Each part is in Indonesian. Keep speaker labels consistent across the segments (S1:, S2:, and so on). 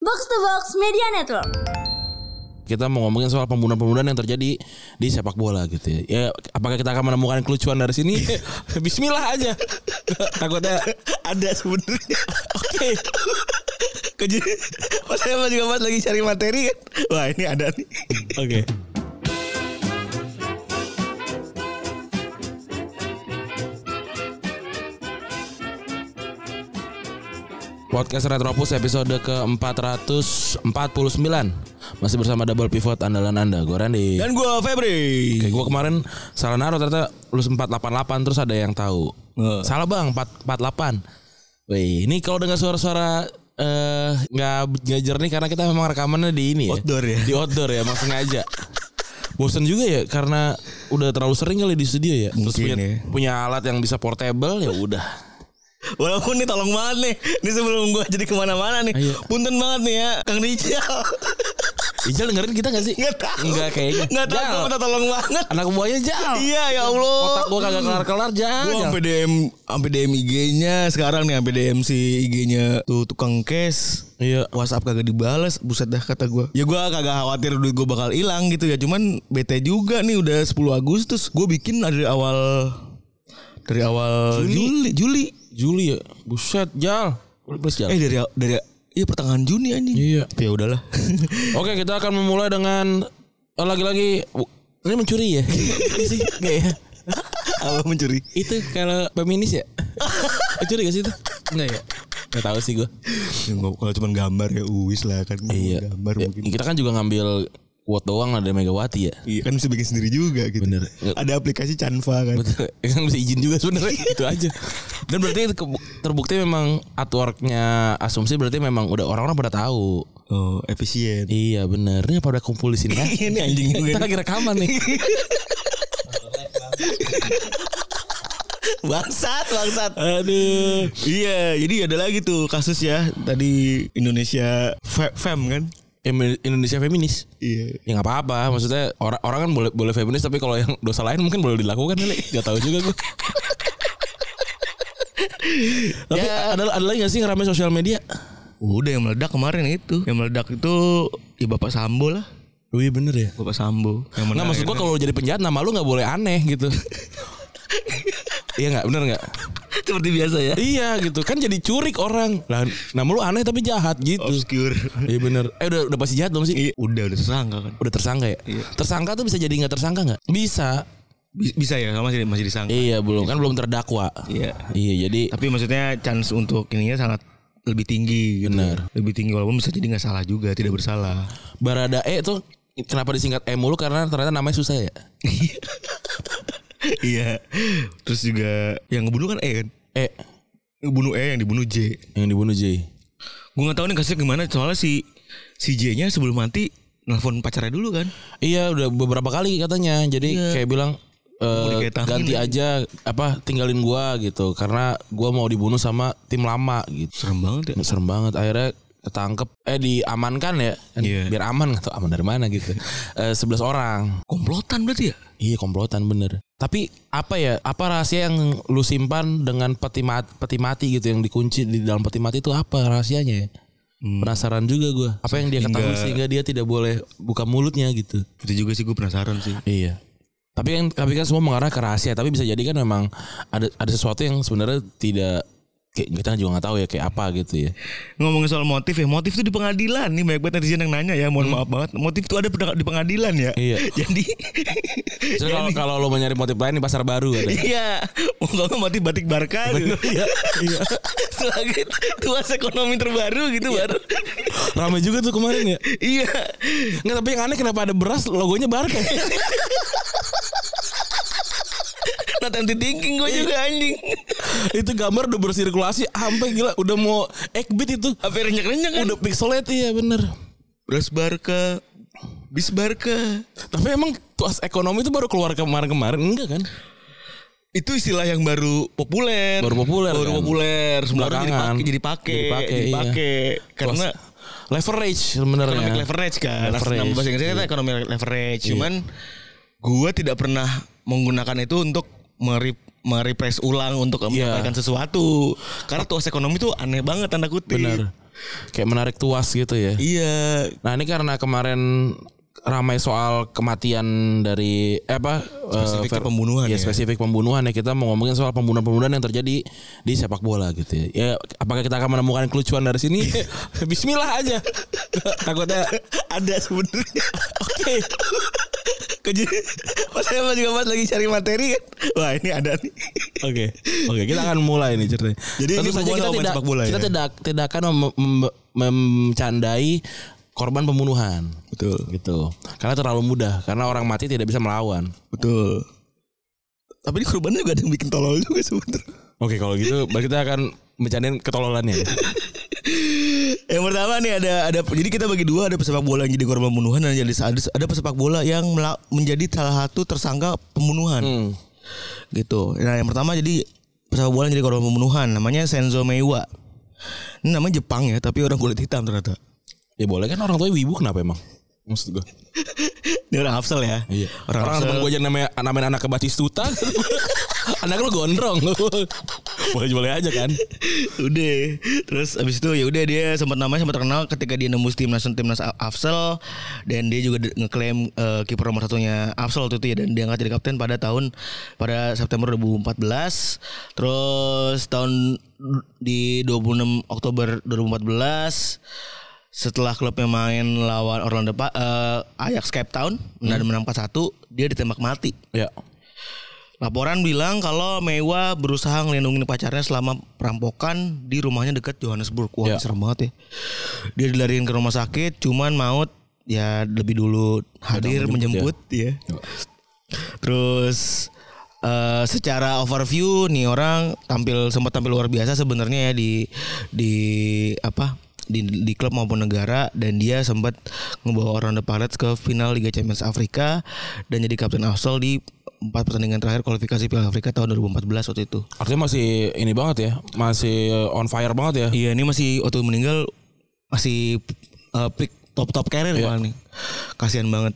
S1: Box to Box Media Network.
S2: kita mau ngomongin soal pembunuhan-pembunuhan yang terjadi di sepak bola gitu ya. ya apakah kita akan menemukan kelucuan dari sini? Bismillah aja. Takutnya
S3: ada sebenarnya
S2: oke.
S3: kejadian pas saya juga pas lagi cari materi kan wah ini ada nih
S2: Oke. Podcast Retropus episode ke-449 Masih bersama Double Pivot andalan Anda Gue Randy
S3: dan gue Febri
S2: Iya. Oke, gue kemarin salah naruh ternyata lu 488 terus ada yang tahu.
S3: Heeh.
S2: Eh, Salah bang, 448. Wih, ini kalau dengar suara-suara eh nggak nggak jernih karena kita memang rekamannya di ini ya.
S3: Outdoor ya.
S2: Di outdoor ya, emang sengaja. Bosen juga ya karena udah terlalu sering kali di studio ya. terus
S3: Mungkin
S2: punya,
S3: ya.
S2: punya alat yang bisa portable ya udah.
S3: walaupun nih tolong banget nih ini sebelum gue jadi kemana-mana nih
S2: Ayo.
S3: punten banget nih ya Kang Rijal
S2: Ijal dengerin kita gak sih?
S3: nggak tahu
S2: Enggak kayaknya.
S3: nggak tahu
S2: Jal,
S3: gua minta tolong banget
S2: Anak buahnya jal.
S3: iya ya Allah
S2: Otak gue kagak kelar-kelar jal.
S3: Gue
S2: Jal.
S3: sampai DM sampai DM IG-nya sekarang nih sampai DM si IG-nya tuh tukang cash.
S2: Iya.
S3: WhatsApp kagak dibales, buset dah kata gue. Ya gue kagak khawatir duit gue bakal hilang gitu ya, cuman bete juga nih udah 10 Agustus. Gue bikin dari awal dari awal
S2: Juli.
S3: Juli, Juli.
S2: Juli ya. Buset jal. Please jal.
S3: Eh dari dari iya pertengahan Juni anjing.
S2: Iya.
S3: Tapi ya udahlah.
S2: Oke kita akan memulai dengan eh, lagi-lagi ini mencuri ya? Ini sih nggak ya?
S3: Apa mencuri?
S2: Itu kalau feminis ya? mencuri gak sih itu? Enggak ya? Gak tahu sih gue.
S3: Ya, nggak- kalau cuman gambar ya uwis lah kan. Gambar
S2: Ya,
S3: mungkin.
S2: Kita kan juga ngambil quote doang lah dari Megawati ya.
S3: Iya kan bisa bikin sendiri juga gitu.
S2: Bener.
S3: Ada aplikasi Canva kan.
S2: Betul. Kan bisa izin juga sebenarnya itu aja. Dan berarti itu ke- terbukti memang artworknya asumsi berarti memang udah orang-orang pada tahu.
S3: Oh, efisien.
S2: Iya bener. Ini pada kumpul di sini. ah.
S3: ini anjing juga
S2: Kita
S3: nih.
S2: lagi rekaman nih.
S3: bangsat bangsat
S2: Aduh.
S3: iya jadi ada lagi tuh kasus ya tadi Indonesia fe- fem kan
S2: Em- Indonesia feminis.
S3: iya
S2: Ya nggak apa-apa, maksudnya orang orang kan boleh boleh feminis tapi kalau yang dosa lain mungkin boleh dilakukan kali. Gak tahu juga gue. tapi
S3: Ya.
S2: ada ada lagi gak sih yang rame sosial media?
S3: udah yang meledak kemarin itu yang meledak itu ya bapak Sambo lah
S2: Oh iya bener ya.
S3: bapak Sambo yang
S2: Nggak maksud gua kalau lu jadi penjahat nama lu nggak boleh aneh gitu. iya nggak bener nggak?
S3: seperti biasa ya
S2: Iya gitu kan jadi curik orang. Lah nama lu aneh tapi jahat gitu.
S3: obscure
S2: Iya bener. Eh udah udah pasti jahat belum sih?
S3: iya udah udah tersangka kan
S2: Udah tersangka ya? Tersangka tuh bisa jadi nggak tersangka nggak? Bisa.
S3: Bi- bisa ya sama masih masih disangka
S2: Iya belum kan belum terdakwa.
S3: Iya.
S2: Iya jadi
S3: tapi maksudnya chance untuk ininya sangat lebih tinggi gitu.
S2: Benar.
S3: lebih tinggi walaupun bisa jadi nggak salah juga tidak bersalah
S2: Baradae itu E kenapa disingkat E mulu karena ternyata namanya susah ya.
S3: iya terus juga yang ngebunuh kan E kan
S2: E
S3: ngebunuh E yang dibunuh J
S2: yang dibunuh J.
S3: Gue gak tahu nih kasusnya gimana soalnya si si J-nya sebelum mati nelfon pacarnya dulu kan.
S2: Iya udah beberapa kali katanya. Jadi kayak bilang
S3: Iya. Mau
S2: eh
S3: diketangin
S2: ganti aja apa tinggalin gua gitu karena gua mau dibunuh sama tim lama gitu.
S3: Serem banget ya.
S2: Serem banget akhirnya ketangkep eh diamankan ya Kan
S3: Iya.
S2: biar aman nggak tahu aman dari mana gitu eh, 11 orang
S3: Komplotan berarti ya?
S2: iya komplotan bener tapi apa ya apa rahasia yang lu simpan dengan peti mati, peti mati gitu yang dikunci di dalam peti mati itu apa rahasianya ya Penasaran juga gue Apa yang dia ketahui sehingga dia tidak boleh buka mulutnya gitu
S3: Itu juga sih gue penasaran sih.
S2: Iya Tapi kan, tapi kan semua mengarah ke rahasia Tapi bisa jadi kan memang Ada ada sesuatu yang sebenarnya tidak kayak Kita juga nggak tahu ya kayak apa gitu ya
S3: Ngomongin soal motif ya, motif itu di pengadilan nih banyak banget netizen yang nanya ya, mohon maaf banget. Motif itu ada peda- di pengadilan ya.
S2: Hmm. Iya.
S3: Jadi
S2: Terus kalau, kalau lo mau nyari motif lain di pasar baru ada
S3: Iya, mau nggak mau motif batik barka gitu.
S2: Iya, iya.
S3: Sebagai tuas ekonomi terbaru gitu baru.
S2: Rame juga tuh kemarin ya
S3: iya.
S2: Nggak tapi yang aneh kenapa ada beras logonya ya? Barca
S3: Not empty thinking gue juga anjing.
S2: Itu gambar udah bersirkulasi Sampai gila udah mau 8 bit itu
S3: Apa renyek-renyek kan?
S2: Udah pixelated ya bener
S3: Beras barka, bis barka.
S2: Tapi emang tuas ekonomi itu baru keluar kemarin-kemarin enggak kan?
S3: itu istilah yang baru populer
S2: Baru populer,
S3: baru
S2: kan?
S3: populer Semua orang jadi
S2: Belakangan.
S3: pakai jadi iya. pakai
S2: Jadi pakai,
S3: jadi pakai karena
S2: Tuas- leverage sebenarnya.
S3: economic leverage kan
S2: Iya. Leverage. Iya.
S3: nama bahasa Inggrisnya kan economic leverage cuman gua tidak pernah menggunakan itu untuk merip merepress ulang untuk
S2: Iya.
S3: mendapatkan sesuatu karena tuas ekonomi itu aneh banget tanda kutip
S2: Benar. Kayak menarik tuas gitu ya.
S3: Iya,
S2: Nah ini karena kemarin ramai soal kematian dari eh apa eh,
S3: Spesifiknya
S2: ver-
S3: pembunuhan
S2: ya,
S3: ya.
S2: spesifik pembunuhan ya kita mau ngomongin soal pembunuhan-pembunuhan yang terjadi di sepak bola gitu ya. ya apakah kita akan menemukan kelucuan dari sini Bismillah aja takutnya
S3: ada sebenarnya. Oke. Kejadian Mas Emma juga mas lagi cari materi kan. Wah, ini ada nih.
S2: oke oke kita akan mulai nih ceritanya
S3: Jadi ini
S2: tentu saja
S3: berhubungan
S2: kita
S3: sama main
S2: tidak
S3: sepak bola
S2: kita
S3: ya?
S2: tidak tidak akan mem- mem- mencandai korban pembunuhan
S3: Betul.
S2: gitu karena terlalu mudah karena orang mati tidak bisa melawan
S3: Betul. Tapi ini korbannya juga ada yang bikin tolol juga sebenarnya.
S2: Oke kalau gitu baru kita akan bercandain
S3: ya?
S2: ketololannya.
S3: Yang pertama nih ada ada jadi kita bagi dua ada pesepak bola yang jadi korban pembunuhan dan jadi ada, ada pesepak bola yang mela- menjadi salah satu tersangka pembunuhan.
S2: Hmm.
S3: gitu. Nah yang pertama jadi pesepak bola yang jadi korban pembunuhan namanya Senzo Meiwa. Ini namanya Jepang ya tapi orang kulit hitam ternyata.
S2: Ya boleh kan orang tua wibu kenapa emang? Maksud gue.
S3: Ini orang Afsel ya. Orang,
S2: Iya. Orang, orang
S3: Afsel.
S2: temen gue aja namanya namain anak ke Batistuta. anak lu gondrong. boleh boleh aja kan.
S3: udah. Terus abis itu ya udah dia sempat namanya sempat terkenal ketika dia nembus timnas timnas A- Afsel dan dia juga de- ngeklaim eh, kiper nomor satunya Afsel waktu itu ya dan diangkat jadi kapten pada tahun pada September 2014. Terus tahun di 26 Oktober 2014 setelah klubnya main lawan Orlando pa, eh, Ajax Cape Town dan menang 4-1 dia ditembak mati
S2: Ya.
S3: Laporan bilang kalau Mewa berusaha ngelindungin pacarnya selama perampokan di rumahnya dekat Johannesburg.
S2: Ya.
S3: Wah, serem banget ya. Dia dilariin ke rumah sakit, cuman maut ya lebih dulu hadir menjemput
S2: menjemput,
S3: ya. Terus eh, secara overview nih orang tampil sempat tampil luar biasa sebenarnya ya di di apa di, di klub maupun negara dan dia sempat ngebawa Orlando Pirates ke final Liga Champions Afrika dan jadi kapten Arsenal di empat pertandingan terakhir kualifikasi Piala Afrika tahun 2014 waktu itu.
S2: Artinya masih ini banget ya. Masih on fire banget ya.
S3: Iya ini masih waktu meninggal masih uh, peak top top carrier malah nih. Kasihan banget.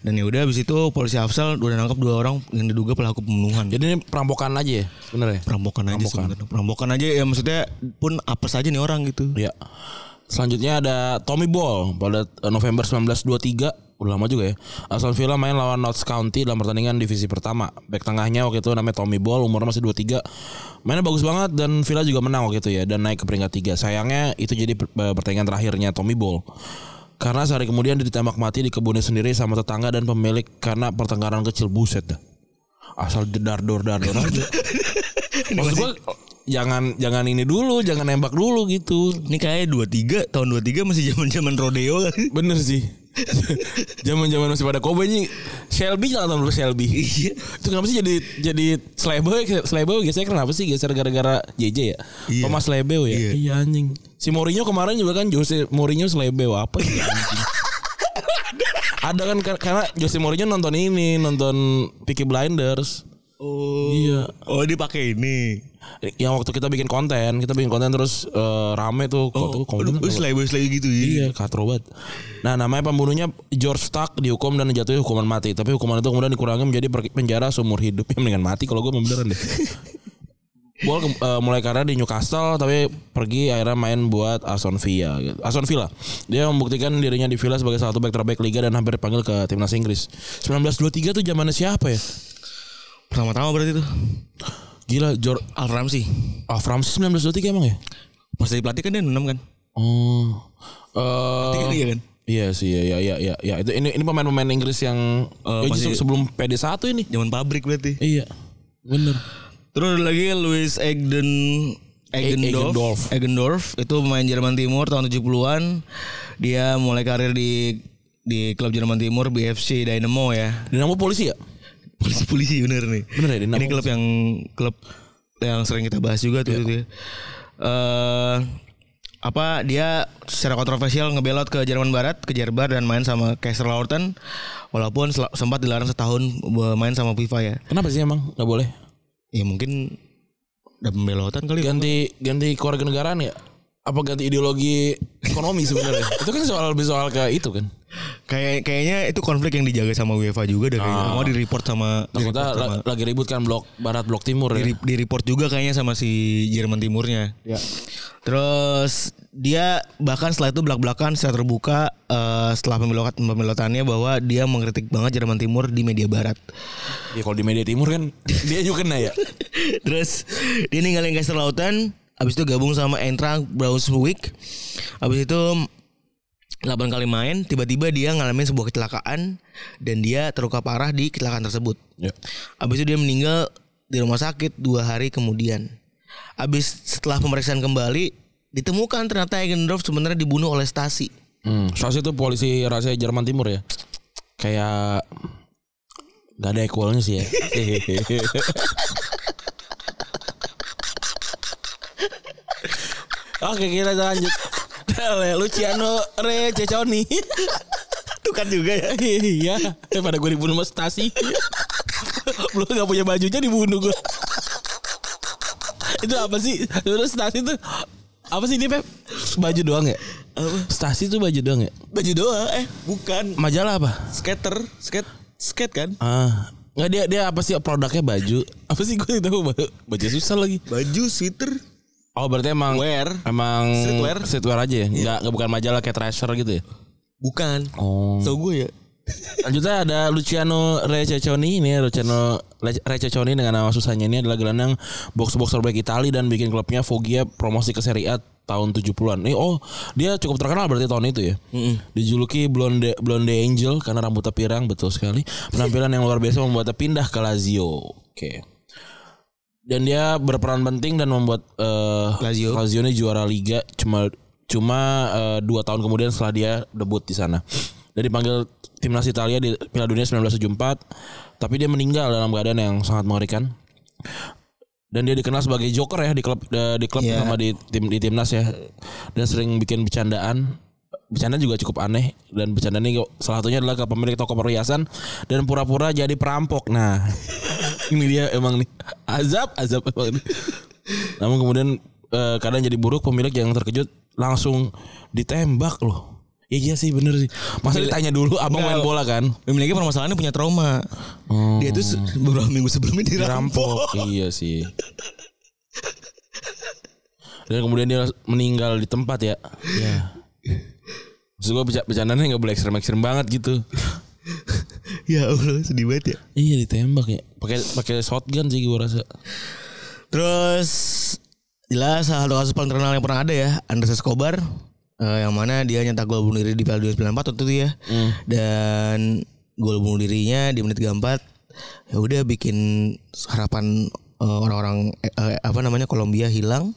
S3: Dan ya udah habis itu polisi Afsal udah nangkap dua orang yang diduga pelaku pembunuhan.
S2: Jadi ini perampokan aja ya sebenarnya.
S3: perampokan aja sebenarnya. Perampokan aja ya maksudnya pun apa saja nih orang gitu.
S2: Ya. Selanjutnya ada Tommy Ball pada eh, November 1923 udah lama juga ya. Aston Villa main lawan Notts County dalam pertandingan divisi pertama. Back tengahnya waktu itu namanya Tommy Ball, umurnya masih 23. Mainnya bagus banget dan Villa juga menang waktu itu ya dan naik ke peringkat 3. Sayangnya itu jadi per- eh, pertandingan terakhirnya Tommy Ball. Karena sehari kemudian dia ditembak mati di kebunnya sendiri sama tetangga dan pemilik karena pertengkaran kecil buset dah. Asal dar dor dar dor aja. Maksud gua, jangan jangan ini dulu, jangan nembak dulu gitu.
S3: Ini kayak 23 tahun 23 masih zaman-zaman rodeo kan.
S2: Bener sih. Zaman-zaman masih pada Kobe nih Shelby jangan tahu dulu Shelby.
S3: Iya.
S2: Itu kenapa sih jadi jadi Slebo Slebo geser kenapa sih geser gara-gara JJ ya?
S3: Iya.
S2: Thomas Slebo ya.
S3: Iya.
S2: anjing. Si Mourinho kemarin juga kan Jose Mourinho Slebo apa sih anjing? Ada kan kar- karena Jose Mourinho nonton ini, nonton Peaky Blinders.
S3: Oh.
S2: Iya.
S3: Oh dipakai ini.
S2: Yang waktu kita bikin konten, kita bikin konten terus eh, rame tuh.
S3: Oh,
S2: Waktu itu konten apa?
S3: Terus lagi lagi gitu ya.
S2: Iya, katro banget. Nah, namanya pembunuhnya George Stark dihukum dan dijatuhi hukuman mati. Tapi hukuman itu kemudian dikurangi menjadi per- penjara seumur hidup. Ya, mendingan mati kalau gue beneran deh. Bol ke- eh, mulai karir di Newcastle tapi pergi akhirnya main buat Aston Villa. gitu. Aston Villa. Dia membuktikan dirinya di Villa sebagai salah satu back terbaik liga dan hampir dipanggil ke timnas Inggris. 1923 tuh zamannya siapa ya?
S3: Pertama-tama berarti tuh.
S2: Gila, George
S3: Al Ramsey.
S2: Ah, Ramsey 1923 emang ya?
S3: Pas jadi pelatih kan dia 6 kan.
S2: Oh. Eh,
S3: Tiga kan.
S2: Iya sih, ya, ya, ya, ya, ya. Itu ini ini pemain-pemain Inggris yang ya
S3: masih-
S2: justru sebelum PD 1 ini.
S3: Zaman pabrik berarti.
S2: Iya, bener.
S3: Terus ada lagi Louis Egden
S2: E- Egendorf.
S3: Egendorf. Egendorf itu pemain Jerman Timur tahun 70-an. Dia mulai karir di di klub Jerman Timur BFC Dynamo ya.
S2: Dinamo polisi ya?
S3: Polisi-polisi bener nih.
S2: Bener ya, Dynamo
S3: Ini klub yang klub yang sering kita bahas juga
S2: Iya.
S3: tuh. tuh ya. Eh, apa dia secara kontroversial ngebelot ke Jerman Barat, ke Jerbar dan main sama Kaiserslautern walaupun sel- sempat dilarang setahun main sama FIFA ya.
S2: Kenapa sih emang nggak boleh?
S3: Ya mungkin ada pembelotan kali. ya.
S2: Ganti ganti keluarga negaraan ya? Apa ganti ideologi ekonomi sebenarnya? itu kan soal lebih soal ke itu kan.
S3: Kayak kayaknya itu konflik yang dijaga sama UEFA juga dah kayaknya. Mau di report sama
S2: Ah.
S3: di
S2: Takutnya
S3: report
S2: la-
S3: sama-
S2: lagi ribut kan blok barat blok timur ya.
S3: di, di report juga kayaknya sama si Jerman Timurnya.
S2: Ya.
S3: Terus dia bahkan setelah itu belak-belakan secara terbuka eh, setelah pemilokat pemilotannya bahwa dia mengkritik banget Jerman Timur di media barat.
S2: Ya kalau di media timur kan dia juga kena ya.
S3: Terus dia ninggalin Kaiserslautern, habis itu gabung sama Eintracht Braunschweig. Habis itu 8 kali main, tiba-tiba dia ngalamin sebuah kecelakaan dan dia terluka parah di kecelakaan tersebut.
S2: Ya.
S3: Habis itu dia meninggal di rumah sakit dua hari kemudian. Habis setelah pemeriksaan kembali ditemukan ternyata Egendorf sebenarnya dibunuh oleh Stasi.
S2: Hmm, Stasi itu polisi rahasia Jerman Timur ya. Kayak nggak ada equalnya sih ya. Oke kita lanjut. Dale, Luciano Re Ceconi.
S3: Itu kan juga ya.
S2: Iya, eh, pada gue dibunuh sama Stasi. Belum gak punya bajunya dibunuh gue. itu apa sih? Terus Stasi tuh apa sih dia Pep? Baju doang ya? Stasi tuh baju doang ya?
S4: Baju doang eh bukan
S2: Majalah apa?
S4: skater, skate skate kan?
S2: Ah, nggak dia dia apa sih produknya baju? Apa sih gue tidak tahu baju, baju susah lagi.
S4: Baju sweater.
S2: Oh berarti emang
S4: Wear.
S2: emang
S4: Streetwear. Iya.
S2: streetwear aja ya? Nggak nggak bukan majalah kayak Thrasher gitu ya?
S4: Bukan.
S2: Oh.
S4: Tahu gue ya.
S2: Lanjutnya ada Luciano Rececioni ini Luciano Le- Rececioni dengan nama susahnya ini adalah gelandang box box terbaik Itali dan bikin klubnya Foggia promosi ke Serie A tahun 70-an. Eh, oh, dia cukup terkenal berarti tahun itu ya. Dijuluki Blonde Blonde Angel karena rambutnya pirang betul sekali. Penampilan yang luar biasa membuatnya pindah ke Lazio. Oke. Dan dia berperan penting dan membuat eh,
S3: Lazio.
S2: ini juara liga cuma cuma eh, dua tahun kemudian setelah dia debut di sana. Dia dipanggil timnas Italia di Piala Dunia 1974, tapi dia meninggal dalam keadaan yang sangat mengerikan. Dan dia dikenal sebagai joker ya di klub eh, di klub
S3: Iya.
S2: sama di tim di timnas ya. Dan sering bikin bercandaan. Bercanda juga cukup aneh dan bercanda ini salah satunya adalah ke pemilik toko perhiasan dan pura-pura jadi perampok. Nah, ini dia emang nih azab azab emang nih. Namun kemudian eh, keadaan jadi buruk pemilik yang terkejut langsung ditembak loh. Iya iya sih bener sih. Masa ditanya dulu abang main bola kan?
S3: Memiliki permasalahannya punya trauma. Dia tuh se- beberapa minggu sebelumnya dirampok.
S2: Dirampok. iya sih. Dan kemudian dia meninggal di tempat ya. Iya. Maksud gue berca- bercandanya gak boleh ekstrem-ekstrem banget gitu.
S3: Ya Allah, sedih banget ya.
S2: iya ditembak ya. Pakai pakai shotgun sih gue rasa.
S3: Terus jelas salah satu kasus paling terkenal yang pernah ada ya Andres Escobar eh, yang mana dia nyetak gol bunuh diri di Piala 1994 waktu itu ya. Dan gol bunuh dirinya di menit 34 ya udah bikin harapan eh, orang-orang eh, eh, apa namanya Kolombia hilang.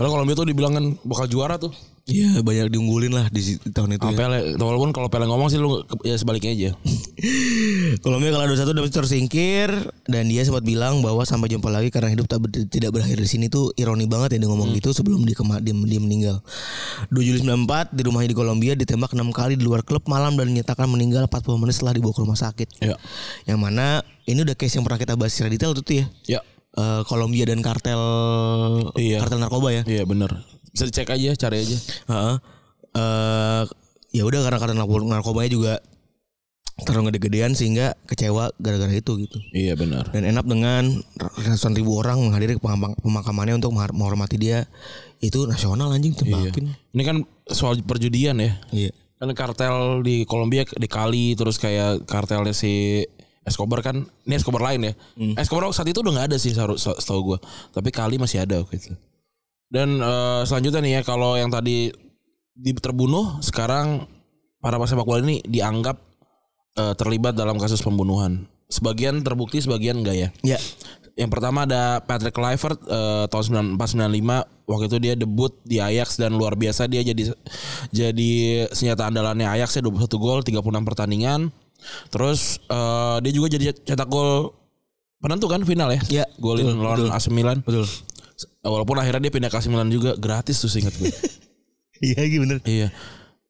S2: Padahal Kolombia tuh dibilang kan bakal juara tuh.
S3: Ya banyak diunggulin lah di si- tahun itu.
S2: Sama
S3: ya.
S2: Pele, walaupun kalau Pele ngomong sih lu ke- ya sebaliknya aja.
S3: Kolombia kalah 2-1 dan tersingkir dan dia sempat bilang bahwa sampai jumpa lagi karena hidup tak ber- tidak berakhir di sini tuh ironi banget ya dia ngomong gitu sebelum dia, kema- dia, dia meninggal. 2 Juli 94 di rumahnya di Kolombia ditembak 6 kali di luar klub malam dan dinyatakan meninggal 40 menit setelah dibawa ke rumah sakit.
S2: Iya.
S3: Yang mana ini udah case yang pernah kita bahas secara detail tuh tuh
S2: Ya.
S3: ya. Eh, Kolombia dan kartel
S2: Iya.
S3: kartel narkoba ya.
S2: Iya bener Bisa dicek aja cari aja
S3: Heeh. Eh, ya udah karena karena narkobanya juga terlalu gede-gedean sehingga kecewa gara-gara itu gitu.
S2: Iya bener
S3: dan enak dengan ratusan ribu orang menghadiri pemakam- pemakamannya untuk menghar- menghormati dia itu nasional anjing tembakin
S2: Ini kan soal perjudian ya
S3: iya
S2: Kan kartel di Kolombia dikali Terus kayak kartelnya si Escobar kan Ini Escobar lain ya Escobar saat itu udah gak ada sih seharu- se- setahu gue Tapi kali masih ada waktu itu Dan eh, selanjutnya nih ya Kalau yang tadi di- terbunuh Sekarang para pesepak bola ini dianggap eh, terlibat dalam kasus pembunuhan Sebagian terbukti sebagian enggak ya
S3: ya
S2: Yang pertama ada Patrick Kluivert eh, tahun 94-95 waktu itu dia debut di Ajax dan luar biasa dia jadi jadi senjata andalannya Ajax ya 21 gol 36 pertandingan. Terus eh, dia juga jadi cetak gol penentu kan final ya.
S3: Iya,
S2: Golin
S3: betul,
S2: lawan
S3: betul.
S2: AC Milan.
S3: betul
S2: Walaupun akhirnya dia pindah ke AC Milan juga gratis tuh seingat gue.
S3: iya gitu bener
S2: Iya.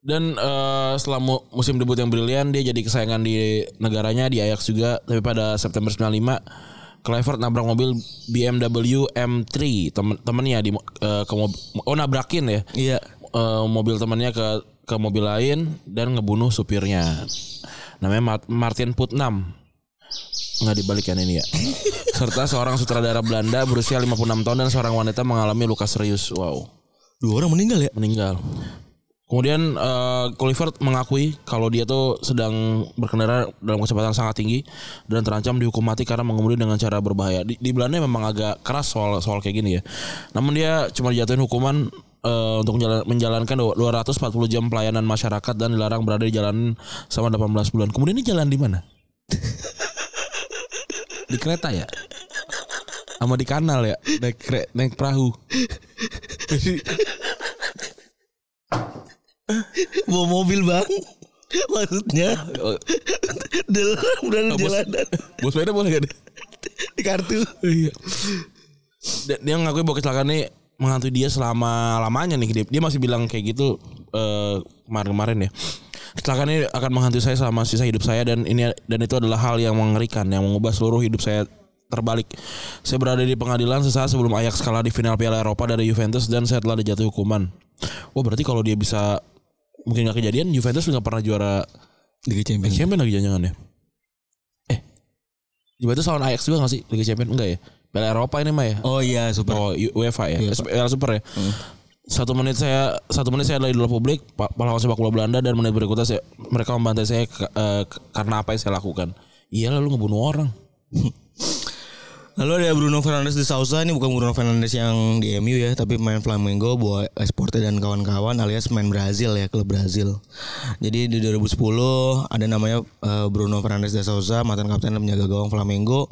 S2: Dan eh, setelah mu- musim debut yang brilian dia jadi kesayangan di negaranya di Ajax juga tapi pada September 95 Kluivert nabrak mobil BMW M3 temen temennya di mo- eh, ke mob- oh nabrakin ya
S3: iya
S2: Eh, mobil temennya ke ke mobil lain dan ngebunuh supirnya. Namanya Mart- Martin Putnam. Nggak dibalikan ini ya. Serta seorang sutradara Belanda berusia 56 tahun dan seorang wanita mengalami luka serius. Wow
S3: Dua orang meninggal ya?
S2: meninggal. Kemudian eh, Kluivert mengakui kalau dia tuh sedang berkendara dalam kecepatan sangat tinggi dan terancam dihukum mati karena mengemudi dengan cara berbahaya. Di, di Belanda memang agak keras soal soal kayak gini ya. Namun dia cuma dijatuhin hukuman eh, untuk menjala- menjalankan 240 jam pelayanan masyarakat dan dilarang berada di jalan selama 18 bulan. Kemudian ini jalan di mana? di kereta ya? Sama di kanal ya? Naik kere- naik perahu.
S3: Bawa mobil bang. Maksudnya dalam dalam
S2: bos-
S3: jalanan
S2: Bos sepeda boleh gak? deh?
S3: di kartu.
S2: Iya. Dia, dia ngakui bahwa kecelakaan ini menghantui dia selama lamanya nih. Dia, dia masih bilang kayak gitu eh, kemarin-kemarin ya. Kecelakaan ini akan menghantui saya selama sisa hidup saya dan ini dan itu adalah hal yang mengerikan yang mengubah seluruh hidup saya terbalik. Saya berada di pengadilan sesaat sebelum Ajax kalah di final Piala Eropa dari Juventus dan saya telah dijatuhi hukuman. Wah berarti kalau dia bisa mungkin nggak kejadian Juventus nggak pernah juara
S4: Liga Champions.
S2: Champions lagi jangan ya? Eh, Juventus lawan Ajax juga gak sih Liga Champions? Enggak ya? Piala Eropa ini mah ya?
S4: Oh iya, super.
S2: Oh, U- UEFA ya? Piala Super ya? Satu menit saya satu menit saya adalah idola publik pa- pahlawan sepak bola Belanda dan menit berikutnya saya, mereka membantai saya ke- eh, ke- karena apa yang saya lakukan. Iya lalu ngebunuh orang.
S3: Lalu ada Bruno Fernandes de Sousa ini bukan Bruno Fernandes yang di MU ya, tapi main Flamengo, buat Esporte dan kawan-kawan alias main Brazil ya, klub Brazil. Jadi di 2010 ada namanya eh, Bruno Fernandes de Sousa, mantan kapten dan penjaga gawang Flamengo,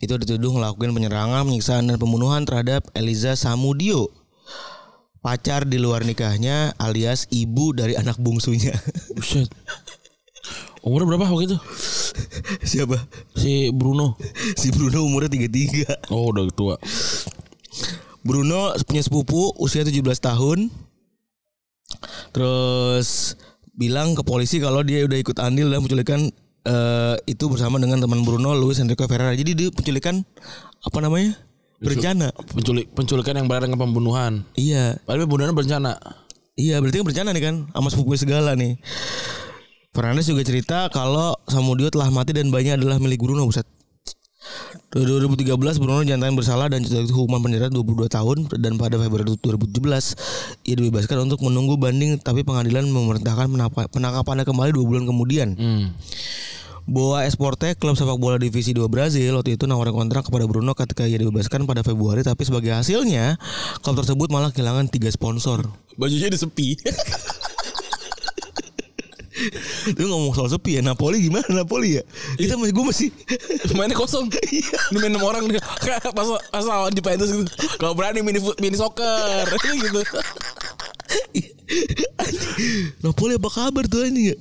S3: itu dituduh melakukan penyerangan, penyiksaan dan pembunuhan terhadap Eliza Samudio, pacar di luar nikahnya alias ibu dari anak bungsunya.
S2: Buset. Umurnya berapa waktu itu?
S3: Siapa?
S2: Si Bruno.
S3: Si Bruno umurnya 33.
S2: Oh udah tua.
S3: Bruno punya sepupu usia 17 tahun. Terus bilang ke polisi kalau dia udah ikut andil dalam penculikan eh, itu bersama dengan teman Bruno Luis Enrico Ferreira. Jadi dia penculikan apa namanya? Berencana.
S2: Penculik penculikan yang berada dengan pembunuhan.
S3: Iya.
S2: Padahal pembunuhan berencana.
S3: Iya, berarti kan berencana nih kan sama sepupu segala nih. Fernandes juga cerita kalau Samudio telah mati dan bayinya adalah milik Bruno, buset. 2013 Bruno jantan bersalah dan jatuh hukuman penjara 22 tahun dan pada Februari 2017 ia dibebaskan untuk menunggu banding tapi pengadilan memerintahkan penapa- penangkapannya kembali dua bulan kemudian.
S2: Hmm.
S3: Boa Esporte, klub sepak bola divisi 2 Brazil waktu itu nawarin kontrak kepada Bruno ketika ia dibebaskan pada Februari tapi sebagai hasilnya klub tersebut malah kehilangan tiga sponsor.
S2: Bajunya udah sepi.
S3: Lu ngomong soal sepi ya Napoli gimana Napoli ya Kita masih Gue masih
S2: mainnya kosong ini main enam orang nih pas pas lawan Juventus gitu kalau berani mini fu- mini soccer gitu
S3: Napoli apa kabar tuh anjing ya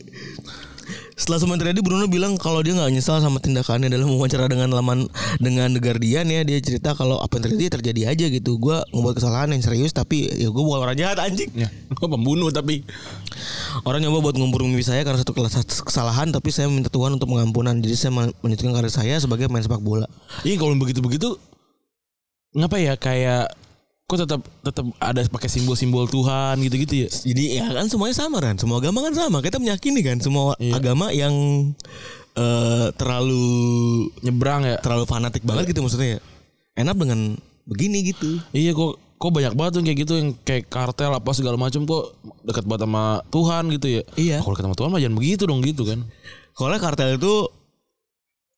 S3: setelah sementara ini Bruno bilang kalau dia nggak nyesal sama tindakannya dalam wawancara dengan laman dengan The Guardian ya dia cerita kalau apa yang terjadi terjadi aja gitu gue ngebuat kesalahan yang serius tapi ya gue bukan orang jahat anjing
S2: ya gue pembunuh tapi
S3: Orang nyoba buat ngumpul mimpi saya karena satu kelas- kesalahan Tapi saya minta Tuhan untuk pengampunan Jadi saya men- melanjutkan karir saya sebagai main sepak bola
S2: iya kalau begitu begitu ngapa ya kayak kok tetap tetap ada pakai simbol-simbol Tuhan gitu-gitu ya
S3: Jadi ya kan semuanya sama kan, semua agama kan sama. Kita meyakini kan semua agama yang eh, terlalu
S2: nyebrang ya
S3: terlalu fanatik banget gitu maksudnya. ya. Enak dengan begini gitu.
S2: iya kok kok banyak banget tuh yang kayak gitu yang kayak kartel apa segala macam kok dekat banget sama Tuhan gitu ya
S3: Iya.
S2: kalau dekat sama Tuhan mah jangan begitu dong gitu kan
S3: Soalnya kartel itu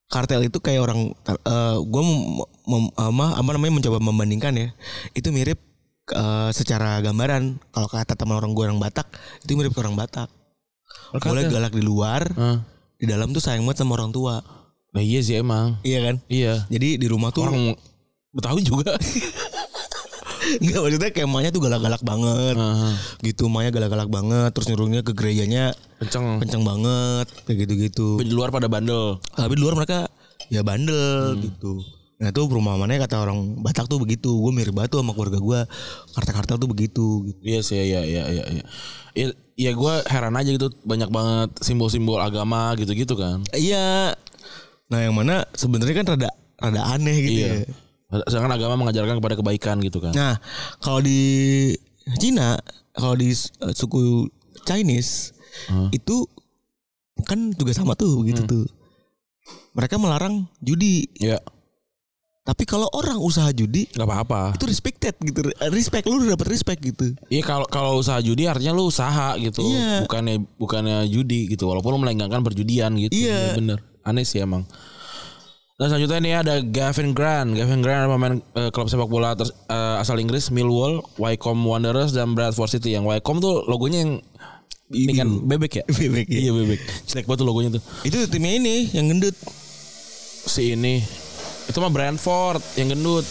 S3: kartel itu kayak orang eh, gua mem- mem- ama- apa namanya mencoba membandingkan ya. Itu mirip eh, secara gambaran kalau kata teman orang gue orang Batak itu mirip ke orang Batak. Boleh galak di luar,
S2: Hah.
S3: di dalam tuh sayang banget sama orang tua.
S2: nah iya sih emang
S3: Iya kan?
S2: iya
S3: Jadi di rumah tuh
S2: orang Betawi juga
S3: Enggak maksudnya kayak emaknya tuh galak-galak banget
S2: Heeh.
S3: Gitu emaknya galak-galak banget Terus nyuruhnya ke gerejanya
S2: kenceng
S3: kenceng banget Kayak gitu-gitu
S2: di luar pada bandel
S3: Tapi di luar mereka ya bandel gitu Nah itu perumahannya kata orang Batak tuh begitu Gue mirip banget tuh sama keluarga gue Kartel-kartel tuh begitu gitu.
S2: iya sih ya ya ya ya ya, ya gue heran aja gitu banyak banget simbol-simbol agama gitu-gitu kan
S3: Iya Nah yang mana sebenarnya kan rada, rada aneh gitu ya
S2: iya sedangkan agama mengajarkan kepada kebaikan gitu kan
S3: Nah kalau di Cina Kalau di eh, suku Chinese
S2: Hmm.
S3: itu kan juga sama tuh gitu tuh. Mereka melarang judi,
S2: Ya,
S3: tapi kalau orang usaha judi
S2: nggak apa-apa.
S3: itu respected gitu. Respect lu udah dapat respect gitu.
S2: Iya kalau kalau usaha judi artinya lu usaha gitu,
S3: Iya.
S2: bukannya bukannya judi gitu. Walaupun lu melenggangkan perjudian gitu.
S3: Iya.
S2: bener. Aneh sih emang. Dan selanjutnya ini ada Gavin Grant. Gavin Grant adalah pemain eh, klub sepak bola ter- eh, asal Inggris Millwall, Wycombe Wanderers dan Bradford City. Yang Wycombe tuh logonya yang ini kan bebek ya?
S3: Bebek, ya.
S2: Iya bebek. Jelek banget tuh logonya tuh.
S3: Itu timnya ini yang gendut.
S2: Si ini itu mah Brentford yang gendut.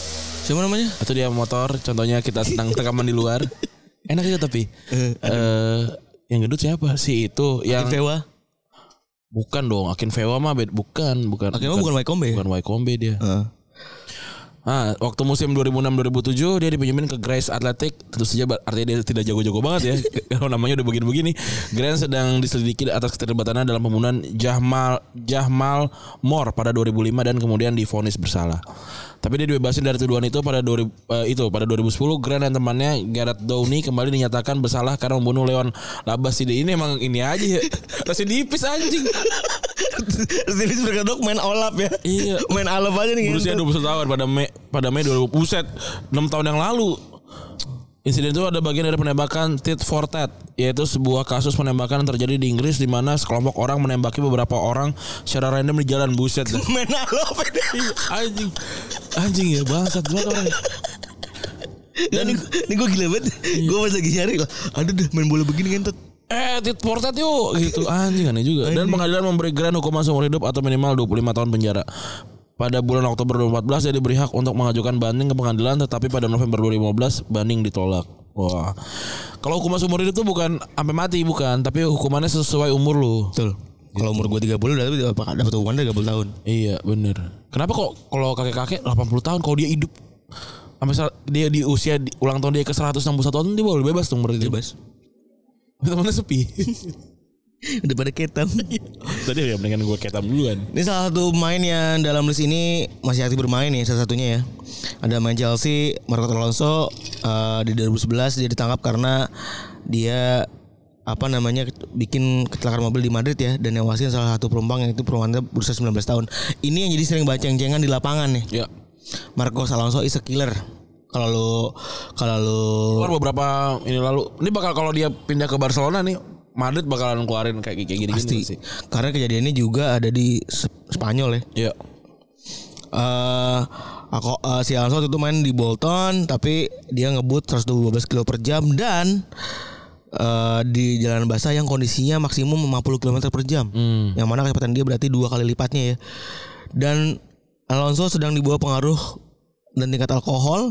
S3: Siapa namanya?
S2: Atau dia motor, contohnya kita sedang rekaman di luar. Enak itu tapi. Eh yang gendut siapa? Si itu yang
S3: Ifewa.
S2: bukan dong, Akin Fewa mah bed- bukan, bukan.
S3: Akhirnya bukan Waikombe ya?
S2: bukan Wycombe dia.
S3: Heeh.
S2: Ah, waktu musim 2006-2007 dia dipinjemin ke Grace Athletic. Tentu saja ber- artinya dia tidak jago-jago banget ya. Kalau namanya udah begini-begini. Grant sedang diselidiki atas keterlibatannya dalam pembunuhan Jahmal Jahmal Moore pada 2005 dan kemudian divonis bersalah. Tapi dia dibebasin dari tuduhan itu pada 2000, eh, itu pada 2010 Grant dan temannya Gareth Downey kembali dinyatakan bersalah karena membunuh Leon Labaside ini emang ini aja ya. Residivis anjing.
S3: Stilis berkedok main olap ya.
S2: Iya.
S3: main alap aja nih.
S2: Berusia
S3: gitu.
S2: 21 tahun pada Mei pada Mei 2000 Buset, 6 tahun yang lalu. Insiden itu ada bagian dari penembakan tit for tat, yaitu sebuah kasus penembakan yang terjadi di Inggris di mana sekelompok orang menembaki beberapa orang secara random di jalan buset. dah.
S3: main alap ya.
S2: anjing, anjing ya bangsat banget orang.
S3: Dan Iya. ini, ini gue gila banget Gue pas lagi nyari lah Aduh dah main bola begini kan, ngentot
S2: Eh, tit for tat yuk gitu. Anjing aneh juga. Dan pengadilan memberi Grant hukuman seumur hidup atau minimal 25 tahun penjara. Pada bulan Oktober 2014 dia diberi hak untuk mengajukan banding ke pengadilan tetapi pada November 2015 banding ditolak. Wah. Kalau hukuman seumur hidup itu bukan sampai mati bukan, tapi hukumannya sesuai umur lu.
S3: Betul Kalau umur gue 30 udah dapat dapat hukuman 30 tahun
S2: Iya, bener Kenapa kok kalau kakek-kakek 80 tahun kalau dia hidup sampai ser- dia di usia di- ulang tahun dia ke 161 tahun dia boleh bebas dong berarti.
S3: Bebas
S2: Temennya sepi.
S3: Udah pada ketam
S2: Tadi ya mendingan gue ketam duluan.
S3: Ini salah satu pemain yang dalam list ini Masih aktif bermain nih salah satunya ya Ada main Chelsea Marco Alonso eh, Di 2011 dia ditangkap karena Dia apa namanya bikin kecelakaan mobil di Madrid ya dan nyawasin salah satu penumpang yang itu perumahannya berusia 19 tahun ini yang jadi sering baceng-cengan di lapangan nih
S2: Ya.
S3: Marcos Alonso is a killer. Kalau lu kalau lu
S2: keluar beberapa ini lalu. Ini bakal kalau dia pindah ke Barcelona nih, Madrid bakalan keluarin kayak kayak gini
S3: pasti karena kejadiannya juga ada di Sep- Spanyol ya.
S2: Iya.
S3: Eh aku eh, si Alonso waktu itu main di Bolton tapi dia ngebut 112 kilo per jam dan eh di jalan basah yang kondisinya maksimum 50 km per jam. Yang mana kecepatan dia berarti dua kali lipatnya ya. Dan Alonso sedang di bawah pengaruh dan tingkat alkohol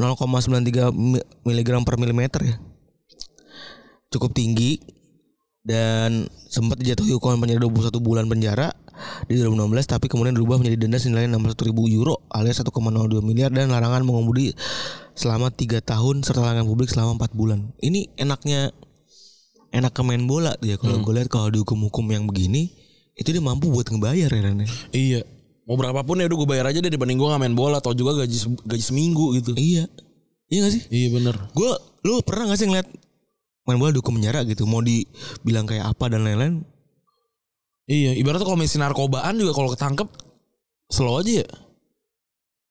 S3: 0,93 mi- miligram per milimeter ya. Cukup tinggi dan sempat dijatuhi hukuman penjara 21 bulan penjara di 2016 tapi kemudian berubah menjadi denda senilai 600.000 euro alias 1,02 miliar dan larangan mengemudi selama 3 tahun serta larangan publik selama 4 bulan. Ini enaknya enak ke main bola tuh ya kalau gue lihat kalau dihukum-hukum yang begini itu dia mampu buat ngebayar ya Ren, ya.
S2: Iya. Mau berapapun ya udah gue bayar aja deh dibanding gue nggak main bola atau juga gaji se- gaji seminggu gitu.
S3: Iya. Iya gak sih?
S2: Iya bener.
S3: Gue lu pernah gak sih ngeliat main bola dihukum penjara gitu mau dibilang kayak apa dan lain-lain
S2: Iya. Ibaratnya kalau misi narkobaan juga kalau ketangkep slow aja ya.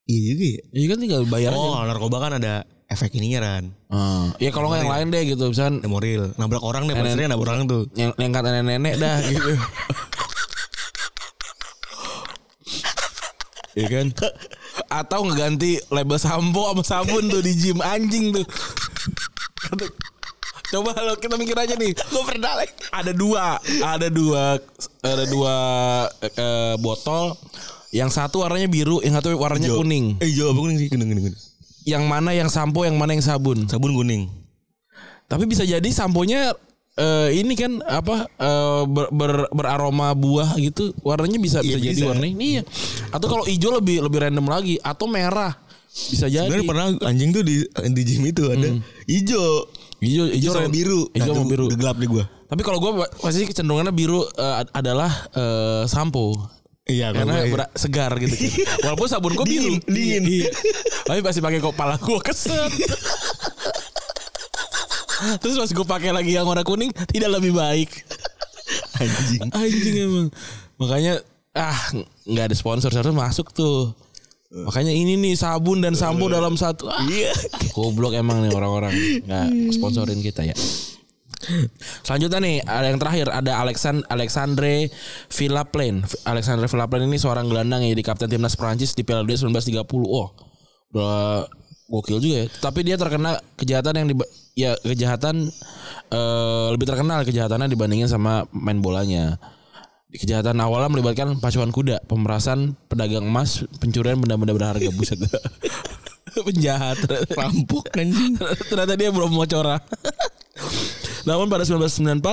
S3: iya juga ya
S2: Iya kan tinggal bayar aja.
S3: oh narkoba kan ada efek ininya Ran
S2: Ah. Iya kalau nggak yang lain deh gitu. Misalkan
S3: Memoril Nabrak orang deh Pastinya nabrak orang tuh
S2: yang yang kata nenek-nenek dah gitu. Iya kan? Atau ngeganti label sampo sama sabun tuh di gym anjing tuh. Coba lo kita mikir aja nih. Gue pernah Ada dua, ada dua, ada dua eh, eh, botol. Yang satu warnanya biru, yang satu warnanya kuning.
S3: Eh jawab kuning sih kuning, kuning, kuning.
S2: Yang mana yang sampo, yang mana yang sabun.
S3: Sabun kuning
S2: Tapi bisa jadi samponya eh ini kan apa eh, ber- ber- beraroma buah gitu. Warnanya bisa bisa,
S3: Iya,
S2: jadi
S3: bisa.
S2: warnanya. Iya. Atau kalau hijau lebih lebih random lagi atau merah. Bisa jadi.
S3: Sebenernya pernah anjing tuh di di gym itu ada Ijo
S2: Hijau
S3: Ijo
S2: Hmm. hijau
S3: sama
S2: ran-
S3: biru
S2: Hijau sama
S3: Aduh,
S2: biru.
S3: udah gelap deh gua
S2: Tapi kalau gua pasti kecenderungannya biru eh, ad- adalah eh, sampo.
S3: Iya kalau
S2: Karena
S3: gua-
S2: ber- segar gitu. Walaupun sabun gua biru.
S3: Dingin, dingin.
S2: Iya, iya. Tapi pasti pakai kepala gua keset. Terus pas gue pakai lagi yang warna kuning tidak lebih baik.
S3: Anjing.
S2: Anjing emang. Makanya ah nggak ada sponsor sponsor masuk tuh. Makanya ini nih sabun dan sampo dalam satu. Ah,
S3: Eh. Iya.
S2: Goblok emang nih orang-orang nggak sponsorin kita ya. Selanjutnya nih ada yang terakhir ada Alexan Alexandre Villaplain. Alexandre Villaplain ini seorang gelandang yang jadi kapten timnas Prancis di Piala Dunia 1930. Oh, udah gokil juga ya. Tapi dia terkena kejahatan yang di ya kejahatan eh, lebih terkenal kejahatannya dibandingin sama main bolanya. Kejahatan awalnya melibatkan pacuan kuda, pemerasan, pedagang emas, pencurian benda-benda berharga buset. Penjahat.
S3: Rampok anjing.
S2: Ternyata dia belum mau cora. Namun pada 1994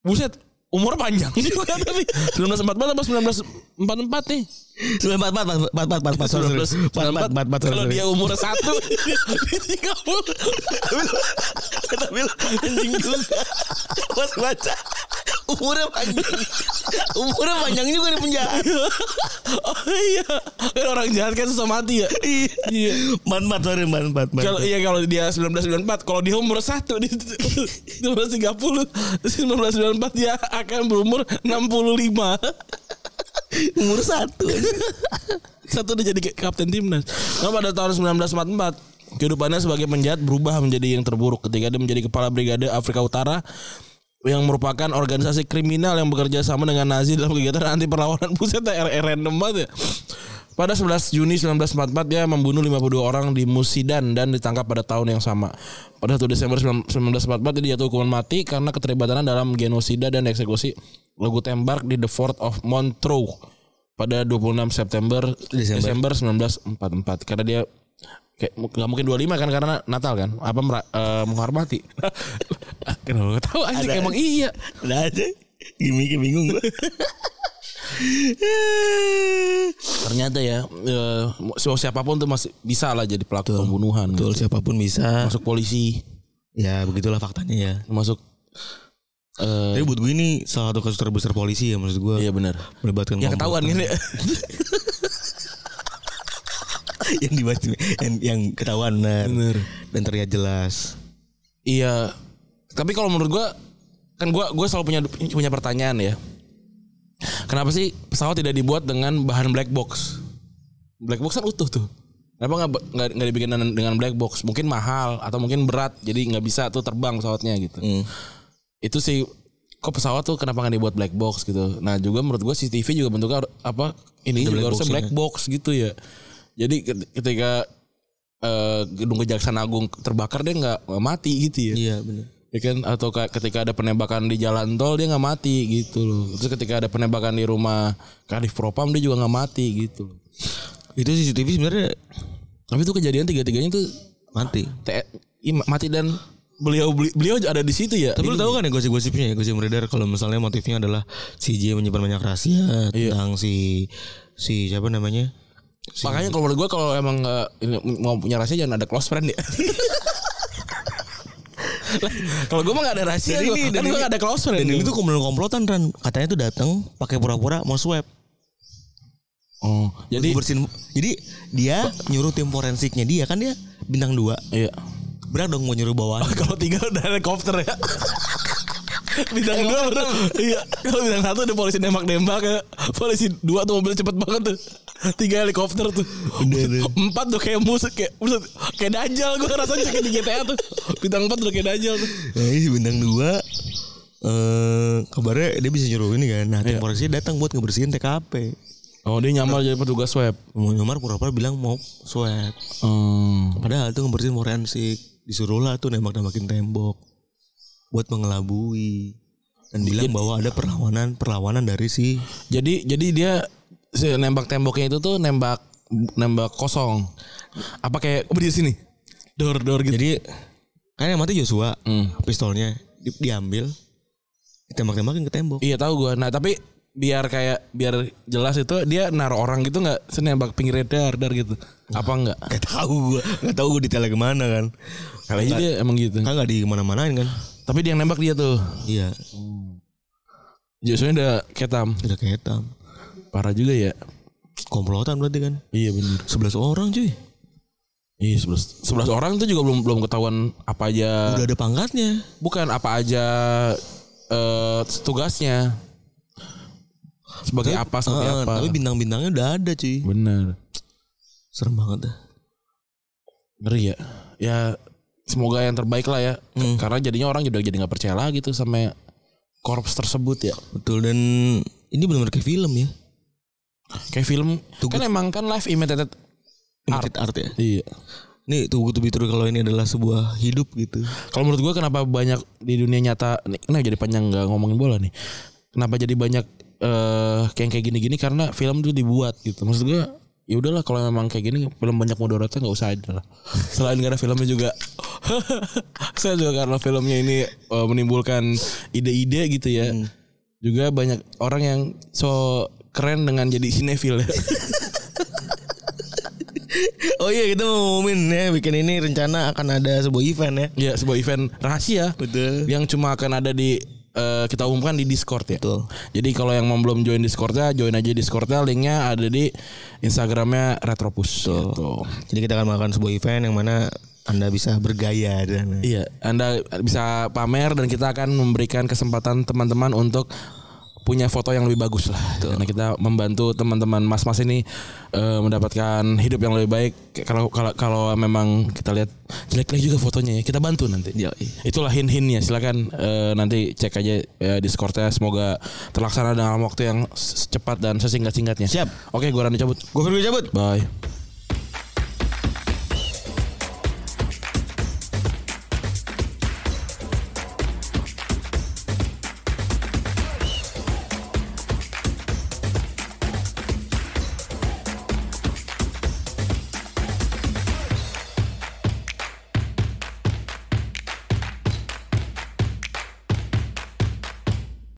S2: buset umur panjang juga tapi 1944 atau 1944 nih
S3: Sembilan empat empat empat empat empat empat sorry, sorry. empat empat empat empat
S2: kalau
S3: sorry, sorry.
S2: dia umur satu dia tiga puluh
S3: Kata Bill anjing juga. Pas baca umurnya panjang. Umurnya panjang juga di penjahat.
S2: oh iya kan orang jahat kan susah mati ya
S3: Iya. Empat empat sorry empat empat empat.
S2: kalau iya kalau dia 1994 kalau dia umur satu di 1930 1994 dia akan berumur 65
S3: Umur satu.
S2: Satu udah jadi kapten timnas. Nah, pada tahun 1944 kehidupannya sebagai penjahat berubah menjadi yang terburuk ketika dia menjadi kepala brigade Afrika Utara yang merupakan organisasi kriminal yang bekerja sama dengan Nazi dalam kegiatan anti perlawanan pusat random banget ya. Pada 11 Juni 1944 dia ya, membunuh 52 orang di Musidan dan ditangkap pada tahun yang sama. Pada 1 Desember 1944 dia jatuh hukuman mati karena keterlibatannya dalam genosida dan eksekusi lagu tembak di The Fort of Montreux pada 26 September Desember, 1944 karena dia kayak nggak mungkin 25 kan karena Natal kan apa mera- eh, menghormati kenapa gak tahu anjing
S3: Ada.
S2: emang iya
S3: Udah aja. Gimik bingung gua.
S2: ternyata ya eh, mau siapapun tuh masih bisa lah jadi pelaku pembunuhan gitu.
S3: Betul siapapun bisa.
S2: masuk polisi
S3: Ya begitulah faktanya ya.
S2: masuk eh
S3: Tapi buat gue ini salah satu kasus terbesar polisi ya maksud gue.
S2: iya benar
S3: Melibatkan
S2: yang ketahuan kan ya
S3: yang dibahas yang, yang ketahuan kan? benar.
S2: Bener.
S3: dan terlihat jelas
S2: iya tapi kalau menurut gua kan gua gua selalu punya punya pertanyaan ya Kenapa sih pesawat tidak dibuat dengan bahan black box? Black box kan utuh tuh. Kenapa nggak nggak nggak dibikin dengan- dengan black box? Mungkin mahal atau mungkin berat, jadi nggak bisa tuh terbang pesawatnya gitu.
S3: Hmm.
S2: Itu sih kok pesawat tuh kenapa nggak dibuat black box gitu? Nah juga menurut gue CCTV juga bentuknya har- apa ini juga harusnya black box gitu ya. Jadi ket- ketika eh, gedung kejaksaan agung terbakar dia nggak nggak mati gitu ya
S3: iya benar
S2: ya kan atau ka- ketika ada penembakan di jalan tol dia nggak mati gitu loh terus ketika ada penembakan di rumah kadif propam dia juga nggak mati gitu loh.
S3: itu CCTV sebenarnya
S2: tapi itu kejadian tiga tiganya tuh
S3: mati
S2: te- i- mati dan beliau beli- beliau ada di situ ya
S3: tapi lu tahu kan ya gosip-gosipnya ya gosip beredar kalau misalnya motifnya adalah si J menyimpan banyak rahasia tentang si si siapa namanya Iya. si,
S2: makanya kalau menurut gua kalau emang nggak- ini mau punya rahasia jangan ada close friend ya Lah, kalau gua mah gak ada rahasia
S3: Dan
S2: gua,
S3: ini-
S2: kan
S3: dan
S2: gua
S3: ini-
S2: gak ada close friend
S3: dan ini tuh komplotan komplotan kan katanya tuh datang pakai pura-pura mau swab
S2: oh jadi
S3: Gua bersihin jadi dia nyuruh tim forensiknya dia kan dia bintang dua
S2: iya
S3: berat dong mau nyuruh bawaan
S2: kalau tiga udah helikopter ya bintang dua udah iya kalau bintang satu udah polisi nembak nembak ya polisi dua tuh mobil cepet banget tuh tiga helikopter tuh empat tuh kayak musik kayak buset, kayak dajal gue rasanya kayak di GTA tuh bintang empat udah kayak dajal tuh
S3: Nah, ini si bintang dua eh kabarnya dia bisa nyuruh ini kan. Nah, tim forensiknya datang buat ngebersihin TKP.
S2: oh dia nyamar jadi petugas web
S3: Mau nyamar pura-pura bilang mau swab. Padahal tuh ngebersihin forensik. Disuruh lah tuh nembak-nembakin tembok buat mengelabui dan bilang bahwa ada perlawanan perlawanan dari si
S2: jadi jadi dia si nembak temboknya itu tuh nembak nembak kosong apa kayak oh, di sini dor dor gitu
S3: jadi kan yang mati Joshua pistolnya di- diambil ditembak-tembakin ke tembok
S2: Iya tahu gua. Nah tapi biar kayak biar jelas itu dia naruh orang gitu nggak senembak pinggir dar dar gitu. Apa enggak?
S3: gak tahu gua gak tahu gua detailnya kemana kan
S2: Kali aja dia emang gitu.
S3: kan gak di mana-manain kan
S2: Tapi dia yang nembak dia tuh.
S3: iya
S2: Joshua udah ketam.
S3: udah kayak hitam
S2: Parah juga ya.
S3: komplotan berarti kan
S2: Iya benar.
S3: 11 orang cuy
S2: Iya, 11 11 orang itu juga belum belum ketahuan apa aja.
S4: Udah ada pangkatnya.
S2: Bukan apa aja eh tugasnya. Sebagai apa seperti
S4: Heeh,
S3: Ah,
S2: apa.
S4: Tapi bintang-bintangnya udah ada cuy.
S2: Bener.
S4: Serem banget dah.
S2: Ngeri ya. Ya semoga yang terbaik lah ya.
S4: Hmm.
S2: Karena jadinya orang juga jadi nggak percaya lagi tuh sama korps tersebut ya.
S4: Betul dan ini benar kayak film ya.
S2: Kayak film kan emang kan live imitated
S4: Art. art ya.
S2: Iya.
S4: Nih tuh to be true kalau ini adalah sebuah hidup gitu.
S2: Kalau menurut gua kenapa banyak di dunia nyata nih, nah jadi panjang nggak ngomongin bola nih. Kenapa jadi banyak eh kayak kayak gini-gini karena film tuh dibuat gitu. Maksud gua ya udahlah kalau memang kayak gini film banyak mudaratnya nggak usah ada lah. Selain karena filmnya juga saya juga karena filmnya ini eh, menimbulkan ide-ide gitu ya. Juga banyak orang yang so keren dengan jadi sinetron ya.
S3: Oh iya kita mau ngumumin ya weekend ini rencana akan ada sebuah event ya.
S2: ya sebuah event rahasia.
S3: Betul.
S2: yang cuma akan ada di eh, kita umumkan di Discord ya. Jadi kalau yang mau belum join Discordnya, join aja Discordnya. Linknya ada di Instagramnya Retropus. Gitu.
S3: Jadi kita akan melakukan sebuah event yang mana Anda bisa bergaya dan
S2: Iya, Anda bisa pamer dan kita akan memberikan kesempatan teman-teman untuk punya foto yang lebih bagus lah. Karena kita membantu teman-teman mas-mas ini eh, mendapatkan hidup yang lebih baik. Kalau kalau kalau memang kita lihat jelek-jelek juga fotonya ya, kita bantu nanti.
S3: Iya,
S2: Itulah hin-hinnya. Silakan eh, nanti cek aja eh, Discordnya. Semoga terlaksana dalam waktu yang s- cepat dan sesingkat-singkatnya.
S3: Siap.
S2: Oke, gua Randy cabut.
S3: Gue pergi cabut.
S2: Bye.